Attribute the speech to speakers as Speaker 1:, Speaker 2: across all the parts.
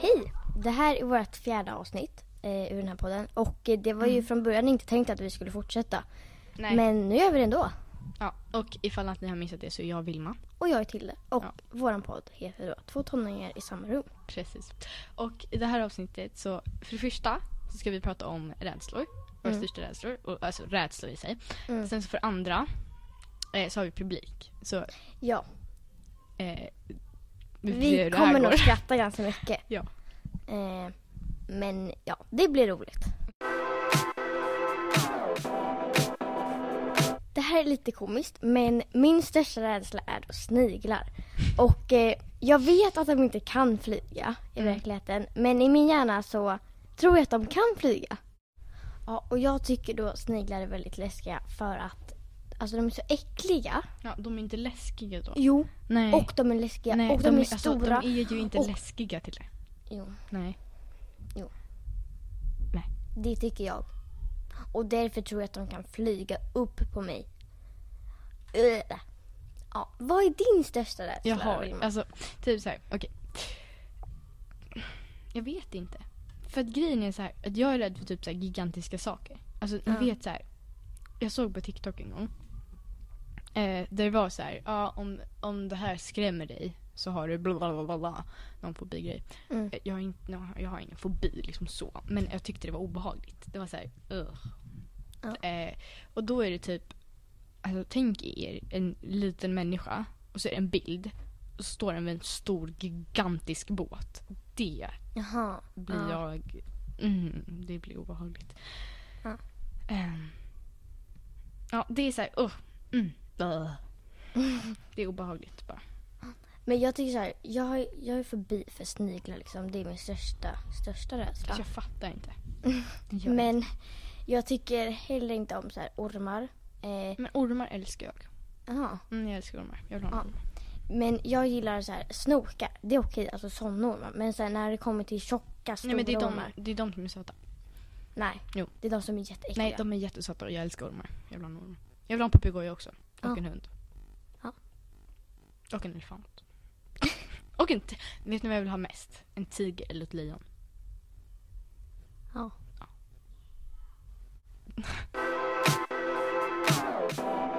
Speaker 1: Hej! Det här är vårt fjärde avsnitt eh, ur den här podden. Och eh, det var ju från början inte tänkt att vi skulle fortsätta.
Speaker 2: Mm. Nej.
Speaker 1: Men nu gör vi det ändå.
Speaker 2: Ja, och ifall att ni har missat det så är jag Vilma.
Speaker 1: Och jag är Tilde. Och
Speaker 2: Ja.
Speaker 1: våran podd heter då Två tonåringar i samma rum.
Speaker 2: Precis. Och i det här avsnittet så, för det första så ska vi prata om rädslor. Våra
Speaker 1: Mm.
Speaker 2: största rädslor. Och, alltså rädslor i sig.
Speaker 1: Mm.
Speaker 2: Sen så för andra eh, så har vi publik. Så
Speaker 1: Ja,
Speaker 2: eh, vi, får se
Speaker 1: vi
Speaker 2: hur det här
Speaker 1: kommer
Speaker 2: går.
Speaker 1: nog skratta ganska mycket.
Speaker 2: Ja.
Speaker 1: Eh, men ja, det blir roligt. Det här är lite komiskt, men min största rädsla är då sniglar. Och eh, jag vet att de inte kan flyga i
Speaker 2: Mm.
Speaker 1: verkligheten, men i min hjärna så tror jag att de kan flyga. Ja, och jag tycker då sniglar är väldigt läskiga för att alltså de är så äckliga.
Speaker 2: Ja, de är inte läskiga då.
Speaker 1: Jo,
Speaker 2: Nej.
Speaker 1: och de är läskiga
Speaker 2: Nej,
Speaker 1: och de, är
Speaker 2: alltså,
Speaker 1: stora.
Speaker 2: de är ju inte
Speaker 1: och-
Speaker 2: läskiga till det.
Speaker 1: Jo.
Speaker 2: Nej.
Speaker 1: Det tycker jag. Och därför tror jag att de kan flyga upp på mig. Ugh. Ja, vad är din största rädsla?
Speaker 2: Jag har
Speaker 1: Vilma?
Speaker 2: alltså typ så här, okej. Jag vet inte. För att grejen är så här, att jag är rädd för typ så här gigantiska saker. Alltså ni
Speaker 1: Ja.
Speaker 2: vet så här. Jag såg på TikTok en gång. Eh, där det var så här, ja om, om det här skrämmer dig så har du bla bla bla bla, bla någon fobigrej.
Speaker 1: Mm.
Speaker 2: Eh, Jag, har inte, nå- jag har ingen fobi liksom så. Men jag tyckte det var obehagligt. Det var så här, ugh.
Speaker 1: Ja.
Speaker 2: Eh, och då är det typ, alltså tänk er en liten människa och så är det en bild och så står den vid en stor gigantisk båt. Det
Speaker 1: Jaha.
Speaker 2: blir
Speaker 1: ja.
Speaker 2: jag, mm, det blir obehagligt.
Speaker 1: Ja.
Speaker 2: Ehm, ja, det är så här, uh, mm, bäh. Det är obehagligt bara.
Speaker 1: Men jag tycker så här, jag, har- jag är förbi för sniglar liksom. Det är min största, största rädsla.
Speaker 2: Så jag fattar inte. Det gör jag.
Speaker 1: Men jag tycker heller inte om så här ormar. Eh,
Speaker 2: Men ormar älskar jag.
Speaker 1: jaha.
Speaker 2: Mm, jag älskar ormar. Jag vill ha en
Speaker 1: Ja.
Speaker 2: orm.
Speaker 1: Men jag gillar så här snokar. Det är okej, alltså sådana ormar. Men så här, när det kommer till tjocka, stora
Speaker 2: Nej men det är, de,
Speaker 1: ormar.
Speaker 2: det är de som är söta.
Speaker 1: Nej,
Speaker 2: Jo.
Speaker 1: det är de som är jätteäckliga.
Speaker 2: Nej, de är jättesöta och jag älskar ormar. Jag vill ha en orm. Jag vill ha en papegoja också. Och
Speaker 1: Ja.
Speaker 2: en hund.
Speaker 1: Ja.
Speaker 2: Och en elefant. och en... T- Vet ni vad jag vill ha mest? En tiger eller ett lejon.
Speaker 1: Ja.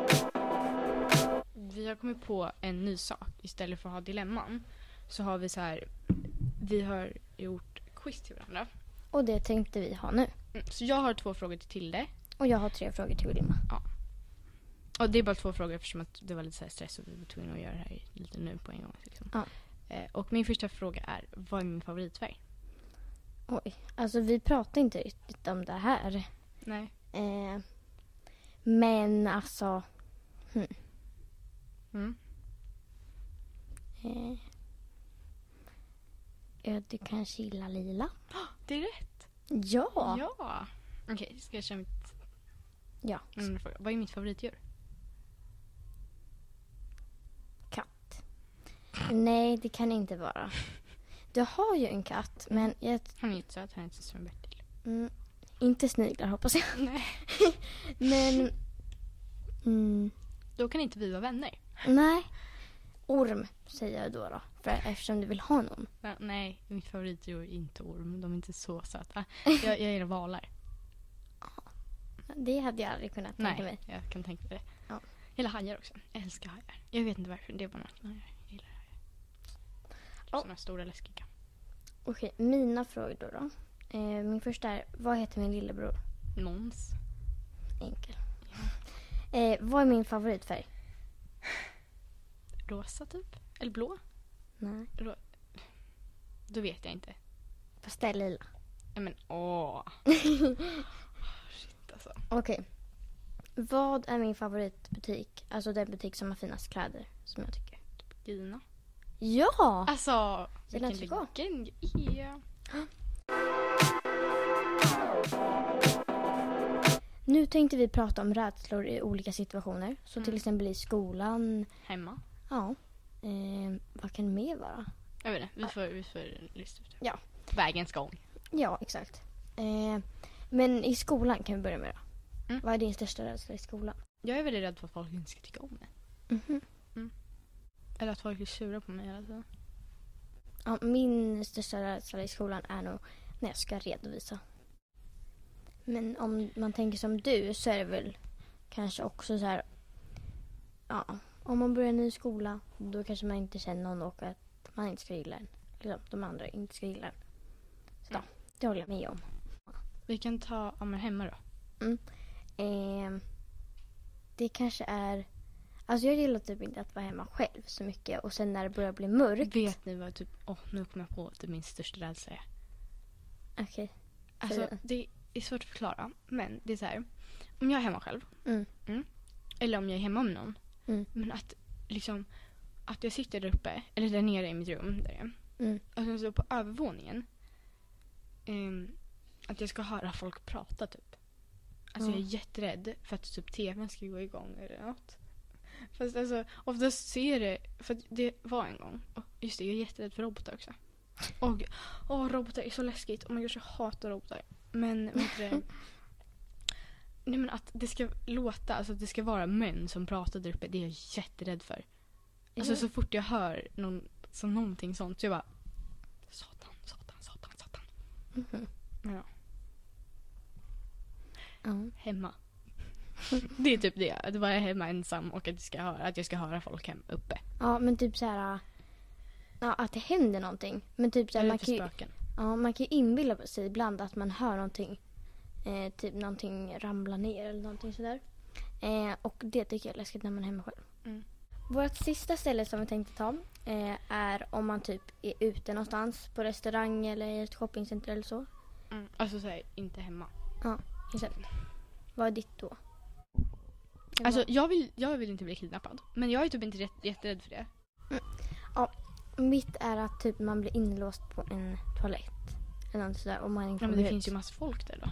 Speaker 2: Vi har kommit på en ny sak. Istället för att ha dilemman så har vi så här... Vi har gjort quiz till varandra.
Speaker 1: Och det tänkte vi ha nu.
Speaker 2: Mm, Så jag har två frågor till Tilde.
Speaker 1: Och jag har tre frågor till Vilma.
Speaker 2: Och det är bara två frågor eftersom att det var lite så här stress och vi var tvungna att göra det här lite nu på en gång. Liksom.
Speaker 1: Ja.
Speaker 2: Eh, och min första fråga är, vad är min favoritfärg?
Speaker 1: Oj, alltså vi pratar inte riktigt om det här.
Speaker 2: Nej.
Speaker 1: Eh, men alltså,
Speaker 2: Mm.
Speaker 1: eh, ja, du kanske gillar lila?
Speaker 2: Det är rätt.
Speaker 1: Ja!
Speaker 2: Ja. Okej, ska jag köra mitt,
Speaker 1: Ja. Mm.
Speaker 2: min andra fråga? Vad är mitt favoritdjur?
Speaker 1: Katt. Nej, det kan inte vara. Du har ju en katt, men jag,
Speaker 2: Han är inte söt, han är inte som Bertil.
Speaker 1: mm, inte sniglar hoppas jag.
Speaker 2: Nej.
Speaker 1: Men, mm,
Speaker 2: Då kan inte vi vara vänner.
Speaker 1: nej. Orm säger jag då, då för, eftersom du vill ha någon.
Speaker 2: Va- Nej, mitt favoritdjur är inte orm. De är inte så söta. Jag, jag gillar valar.
Speaker 1: Det hade jag aldrig kunnat tänka mig.
Speaker 2: Nej, jag kan tänka mig det.
Speaker 1: Ja.
Speaker 2: Jag gillar hajar också. Jag älskar hajar. Jag vet inte varför, det är bara något med hajar. Jag gillar hajar.
Speaker 1: Ja.
Speaker 2: Såna stora läskiga.
Speaker 1: Okej, mina frågor då. då. Eh, min första är, vad heter min lillebror?
Speaker 2: Måns.
Speaker 1: Enkel. Eh, vad är min favoritfärg?
Speaker 2: rosa typ? Eller blå?
Speaker 1: Nej.
Speaker 2: Då vet jag inte.
Speaker 1: Fast det är lila.
Speaker 2: Nej men åh. Ah, Shit alltså.
Speaker 1: Okej. Vad är min favoritbutik? Alltså den butik som har finast kläder, som jag tycker.
Speaker 2: Gina.
Speaker 1: Ja!
Speaker 2: Alltså
Speaker 1: Gina
Speaker 2: vilken
Speaker 1: Tricot.
Speaker 2: vilken ja.
Speaker 1: Nu tänkte vi prata om rädslor i olika situationer. Så
Speaker 2: Mm.
Speaker 1: till exempel i skolan.
Speaker 2: Hemma.
Speaker 1: Ja. Eh, vad kan det mer vara?
Speaker 2: Jag vet inte, vi får, vi får lista ut det.
Speaker 1: Ja.
Speaker 2: Vägens gång.
Speaker 1: Ja, exakt. Eh, men i skolan kan vi börja med då.
Speaker 2: Mm.
Speaker 1: Vad är din största rädsla i skolan?
Speaker 2: Jag är väldigt rädd för att folk inte ska tycka om mig.
Speaker 1: Mhm.
Speaker 2: Eller att folk är sura på mig hela tiden.
Speaker 1: Ja, min största rädsla i skolan är nog när jag ska redovisa. Men om man tänker som du så är det väl kanske också så här... Ja, om man börjar en ny skola då kanske man inte känner någon och att man inte ska gilla en. Liksom, de andra inte ska gilla en. Så ja, det håller jag med om.
Speaker 2: Vi kan ta ja, men hemma då.
Speaker 1: Ehm, det kanske är... Alltså jag gillar typ inte att vara hemma själv så mycket och sen när det börjar bli mörkt.
Speaker 2: Vet ni vad typ, åh nu kom jag på att det är min största rädsla är.
Speaker 1: Okej.
Speaker 2: Alltså
Speaker 1: Säg
Speaker 2: det är svårt att förklara men det är så här. Om jag är hemma själv
Speaker 1: Mm.
Speaker 2: eller om jag är hemma med någon.
Speaker 1: Mm.
Speaker 2: Men att liksom att jag sitter där uppe eller där nere i mitt rum där jag är.
Speaker 1: Mm.
Speaker 2: Och sen Alltså, så på övervåningen. ehm, att jag ska höra folk prata typ. Alltså jag är
Speaker 1: Ja.
Speaker 2: jätterädd för att typ tvn ska gå igång eller något. Fast alltså oftast ser det, för att det var en gång. Och Just det, jag är jätterädd för robotar också. Och åh, robotar är så läskigt. Oh my gosh, jag hatar robotar. Men vad heter det? Nej men att det ska låta, alltså att det ska vara män som pratar där uppe, det är jag jätterädd för. Alltså
Speaker 1: Mm.
Speaker 2: så fort jag hör någon, så någonting sånt så jag bara Satan, satan, satan, satan.
Speaker 1: Mhm.
Speaker 2: Ja.
Speaker 1: Ja.
Speaker 2: Hemma. det är typ det, att vara hemma ensam och att jag ska höra, att jag ska höra folk hem uppe.
Speaker 1: Ja, men typ så här... Ja, att det händer någonting. Men typ så här,
Speaker 2: Eller
Speaker 1: man
Speaker 2: eh, för
Speaker 1: kan, ju,
Speaker 2: spöken.
Speaker 1: ja, man kan ju inbilla sig ibland att man hör någonting. Eh, typ någonting ramla ner eller någonting sådär. Eh, och det tycker jag är läskigt när man är hemma själv.
Speaker 2: Mm.
Speaker 1: Vårt sista ställe som vi tänkte ta eh, är om man typ är ute någonstans på restaurang eller i ett shoppingcenter eller så.
Speaker 2: Mm. Alltså såhär, inte hemma.
Speaker 1: Exakt. Vad är ditt då?
Speaker 2: Alltså jag vill, jag vill inte bli kidnappad. Men jag är typ inte jätt- jätterädd för det.
Speaker 1: Mitt är att typ man blir inlåst på en toalett. Eller något sådär och man inte
Speaker 2: Ja, men
Speaker 1: kommer ut.
Speaker 2: det finns ju massa folk där då.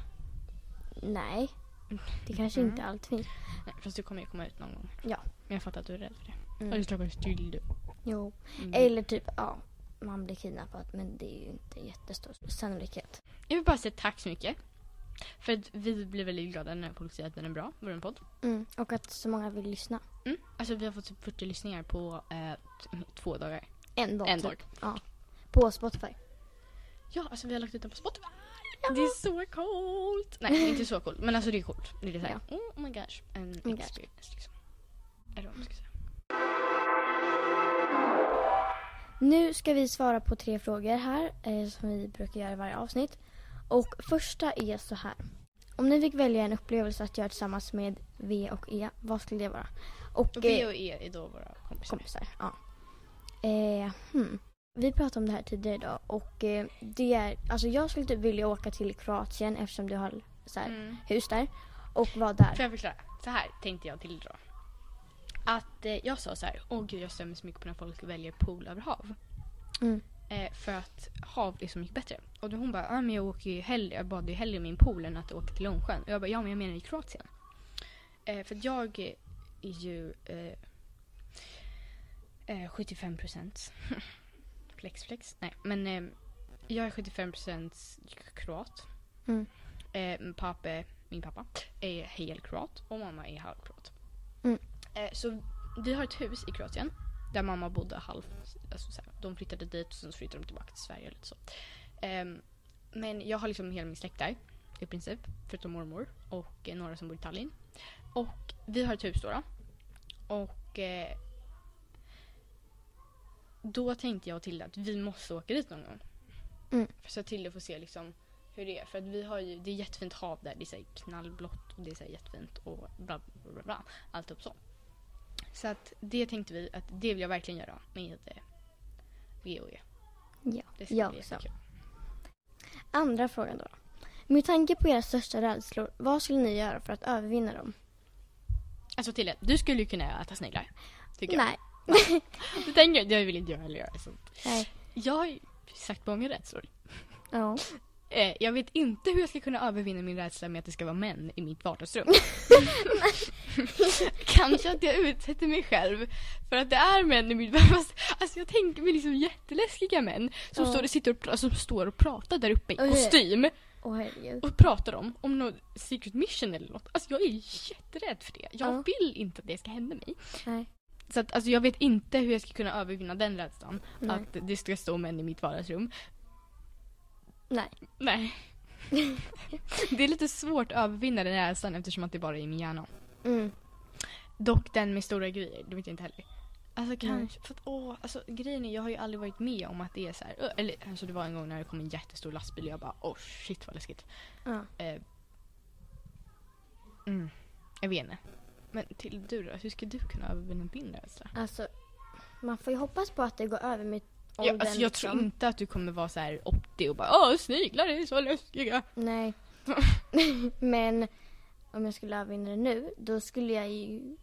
Speaker 1: Nej,
Speaker 2: Mm.
Speaker 1: det kanske
Speaker 2: Mm.
Speaker 1: inte alltid finns.
Speaker 2: Nej, fast du kommer ju komma ut någon gång.
Speaker 1: Ja.
Speaker 2: Men jag fattar att du är rädd för det.
Speaker 1: Mm.
Speaker 2: Eller klockan är still.
Speaker 1: Jo.
Speaker 2: Mm.
Speaker 1: Eller typ, ja, man blir kidnappad men det är ju inte jättestor sannolikhet.
Speaker 2: Jag vill bara säga tack så mycket. För att vi blir väldigt glada när folk säger att den är bra, vår podd.
Speaker 1: Mm. Och att så många vill lyssna.
Speaker 2: Mm. Alltså vi har fått typ 40 lyssningar på eh, t- två dagar.
Speaker 1: En dag.
Speaker 2: en
Speaker 1: typ.
Speaker 2: dag.
Speaker 1: På Spotify.
Speaker 2: Ja, alltså vi har lagt ut den på Spotify. Det är så coolt! Nej, det är inte så coolt. Men alltså det är coolt. Det är lite såhär, oh my gosh. En
Speaker 1: my gosh.
Speaker 2: experience liksom. Eller vad man ska säga.
Speaker 1: Nu ska vi svara på tre frågor här eh, som vi brukar göra i varje avsnitt. Och första är så här. Om ni fick välja en upplevelse att göra tillsammans med V och E, vad skulle det vara? Och,
Speaker 2: Och E.
Speaker 1: eh,
Speaker 2: vi och er är då våra kompisar.
Speaker 1: kompisar. Ja. Eh, hmm. Vi pratade om det här tidigare idag och eh, det är, alltså jag skulle typ vilja åka till Kroatien eftersom du har så här,
Speaker 2: Mm.
Speaker 1: hus där och vara där.
Speaker 2: Får jag förklara? Så här tänkte jag till då. Att eh, jag sa så här, åh gud jag stämmer så mycket på när folk väljer pool över hav.
Speaker 1: Mm.
Speaker 2: Eh, för att hav är så mycket bättre. Och då hon bara, ja men jag åker ju hellre, jag badar ju hellre i min pool än att åka till Långsjön. Och jag bara, ja men jag menar i Kroatien. Eh, för att jag eh, är ju eh, eh, 75 procent. flex flex, nej men eh, jag är 75 procent kroat.
Speaker 1: Mm.
Speaker 2: Eh, min pappa, min pappa är helkroat och mamma är halvkroat.
Speaker 1: Mm.
Speaker 2: Eh, så vi har ett hus i Kroatien där mamma bodde halv... Alltså så här, de flyttade dit och sen så flyttade de tillbaka till Sverige. Lite så. Ehm, men jag har liksom hela min släkt där i princip. Förutom mormor och eh, några som bor i Tallinn. Och vi har ett hus då. då. Och eh, då tänkte jag och Tilde att vi måste åka dit någon gång.
Speaker 1: Mm.
Speaker 2: För så att Tilde får se liksom hur det är. För att vi har ju, det är jättefint hav där. Det är så här knallblått och det är så här jättefint och bla bla bla. bla allt upp så. Så att det tänkte vi att det vill jag verkligen göra med eh, VOE.
Speaker 1: Ja.
Speaker 2: Det ska
Speaker 1: Ja,
Speaker 2: bli
Speaker 1: så.
Speaker 2: jättekul.
Speaker 1: Andra frågan då. Med tanke på era största rädslor, vad skulle ni göra för att övervinna dem?
Speaker 2: Alltså Tilde, du skulle ju kunna äta sniglar. Tycker
Speaker 1: Nej.
Speaker 2: jag. Det tänker jag, det vill inte jag heller göra. Så.
Speaker 1: Nej.
Speaker 2: Jag har ju sagt många rädslor.
Speaker 1: Ja.
Speaker 2: Eh, jag vet inte hur jag ska kunna övervinna min rädsla med att det ska vara män i mitt vardagsrum. Kanske att jag utsätter mig själv för att det är män i mitt vardagsrum. Alltså jag tänker mig liksom jätteläskiga män som,
Speaker 1: Ja.
Speaker 2: står, och sitter och, pra- som står och pratar där uppe i
Speaker 1: Okej.
Speaker 2: kostym
Speaker 1: Åh herregud.
Speaker 2: och pratar om, om något secret mission eller något. Alltså jag är jätterädd för det. Jag
Speaker 1: Ja.
Speaker 2: vill inte att det ska hända mig.
Speaker 1: Nej.
Speaker 2: Så att, alltså, jag vet inte hur jag ska kunna övervinna den rädslan.
Speaker 1: Nej.
Speaker 2: Att det ska stå män i mitt vardagsrum.
Speaker 1: Nej.
Speaker 2: Nej. det är lite svårt att övervinna den rädslan eftersom att det bara är i min hjärna.
Speaker 1: Mm.
Speaker 2: Dock den med stora grejer, det vet jag inte heller. Alltså kanske, för att åh, alltså grejen är jag har ju aldrig varit med om att det är så här. ö, Eller alltså det var en gång när det kom en jättestor lastbil och jag bara åh shit vad läskigt.
Speaker 1: Ja.
Speaker 2: Eh, mm, jag vet inte. Men till du då, hur ska du kunna övervinna din rädsla?
Speaker 1: Alltså, man får ju hoppas på att det går över med
Speaker 2: Jag,
Speaker 1: åldern. liksom.
Speaker 2: alltså, jag tror inte att du kommer vara så här opti och bara åh sniglar är så läskiga.
Speaker 1: Nej. Men om jag skulle övervinna det nu, då skulle jag ju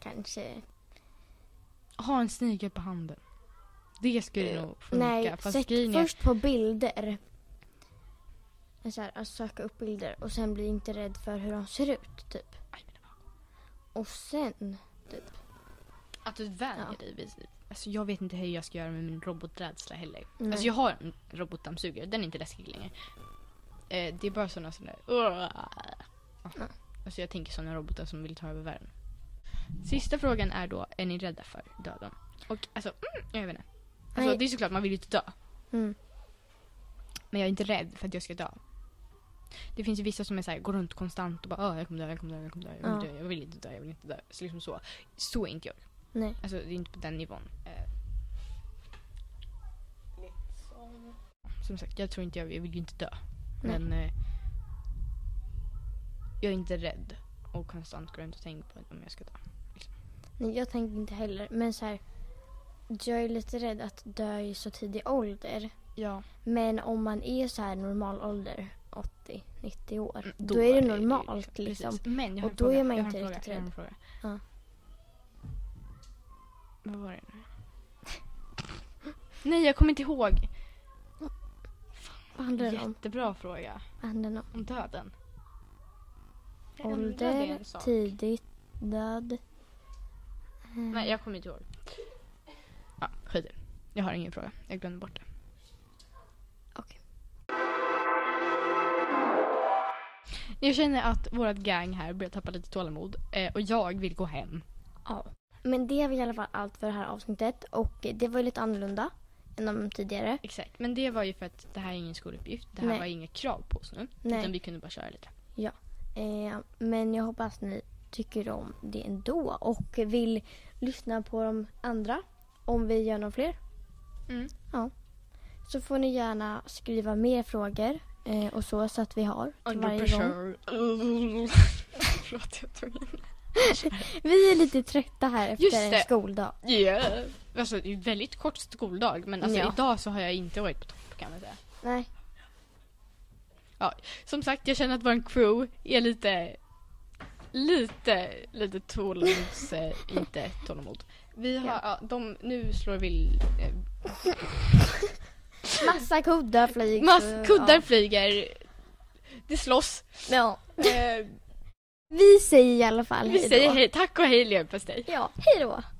Speaker 1: kanske...
Speaker 2: Ha en snigel på handen. Det skulle nog funka.
Speaker 1: Eh, Nej,
Speaker 2: fast
Speaker 1: sätt
Speaker 2: grejen är-
Speaker 1: först på bilder. Så här, att söka upp bilder och sen bli inte rädd för hur de ser ut, typ.
Speaker 2: Aj, men det var-
Speaker 1: Och sen...
Speaker 2: Att du vänjer
Speaker 1: Ja.
Speaker 2: dig vid Alltså jag vet inte hur jag ska göra med min roboträdsla heller.
Speaker 1: Nej.
Speaker 2: Alltså jag har en robotdammsugare, den är inte läskig längre. Eh, det är bara sådana som där... Uh.
Speaker 1: Ja.
Speaker 2: Alltså jag tänker sådana robotar som vill ta över världen. Sista frågan är då, är ni rädda för döden? Och alltså, mm, jag vet inte. Alltså
Speaker 1: Nej.
Speaker 2: det är såklart, man vill ju inte dö.
Speaker 1: Mm.
Speaker 2: Men jag är inte rädd för att jag ska dö. Det finns ju vissa som är så här, går runt konstant och bara "Åh, jag kommer dö, jag kommer dö, jag kommer dö, jag, kommer
Speaker 1: Ja.
Speaker 2: dö, jag vill inte dö, jag vill inte dö. Så liksom så. Så är inte jag.
Speaker 1: Nej.
Speaker 2: Alltså det är inte på den nivån. Eh, liksom. Som sagt, jag tror inte jag, jag vill ju inte dö.
Speaker 1: Nej.
Speaker 2: Men eh, jag är inte rädd och konstant går runt och tänker på om jag ska dö.
Speaker 1: Nej, jag tänker inte heller. Men så här, jag är lite rädd att dö i så tidig ålder.
Speaker 2: Ja.
Speaker 1: Men om man är så här normal ålder, 80-90 år,
Speaker 2: Mm,
Speaker 1: då, är det
Speaker 2: ju
Speaker 1: normalt liksom.
Speaker 2: precis. Men jag har
Speaker 1: Och
Speaker 2: en
Speaker 1: då
Speaker 2: fråga,
Speaker 1: är man
Speaker 2: jag
Speaker 1: inte
Speaker 2: har en fråga,
Speaker 1: riktigt
Speaker 2: jag har en fråga.
Speaker 1: Ja.
Speaker 2: Vad var det nu? Nej, jag kommer inte ihåg.
Speaker 1: Vad handlar det om?
Speaker 2: Jättebra fråga.
Speaker 1: Vad handlar det om?
Speaker 2: Om döden. Jag undrar det en
Speaker 1: Ålder,
Speaker 2: sak.
Speaker 1: tidigt, död. Mm.
Speaker 2: Nej, jag kommer inte ihåg. Ja, skit i det. Jag har ingen fråga. Jag glömde bort det.
Speaker 1: Okej.
Speaker 2: Jag känner att vårt gang här börjar tappa lite tålamod eh, och jag vill gå hem.
Speaker 1: Ja. Men det var i alla fall allt för det här avsnittet. Och det var ju lite annorlunda än de tidigare.
Speaker 2: Exakt, men det var ju för att det här är ingen skoluppgift. Det här
Speaker 1: Nej.
Speaker 2: var inga krav på oss nu.
Speaker 1: Nej.
Speaker 2: Utan vi kunde bara köra lite.
Speaker 1: Eh, men jag hoppas ni tycker om det ändå och vill lyssna på de andra om vi gör några fler.
Speaker 2: Mm.
Speaker 1: Så får ni gärna skriva mer frågor eh, och så, så att vi har till
Speaker 2: Under
Speaker 1: varje gång.
Speaker 2: pressure. Förlåt, jag tog in.
Speaker 1: Vi är lite trötta här
Speaker 2: Just
Speaker 1: efter en
Speaker 2: det.
Speaker 1: skoldag.
Speaker 2: Yeah. Alltså, det är en väldigt kort skoldag men alltså,
Speaker 1: Ja.
Speaker 2: idag så har jag inte varit på topp kan man säga.
Speaker 1: Nej,
Speaker 2: Som sagt, jag känner att vår crew är lite, lite, lite tålamods, eh, inte tålamod. Vi har,
Speaker 1: Ja.
Speaker 2: ja. de, nu slår vi, eh,
Speaker 1: massa kuddar flyger.
Speaker 2: eh, mass, kuddar flyger, det slåss.
Speaker 1: Ja. Ja.
Speaker 2: Eh,
Speaker 1: Vi säger i alla fall
Speaker 2: vi
Speaker 1: hej då.
Speaker 2: säger hej, tack och hej leverpastej.
Speaker 1: Ja, hej då.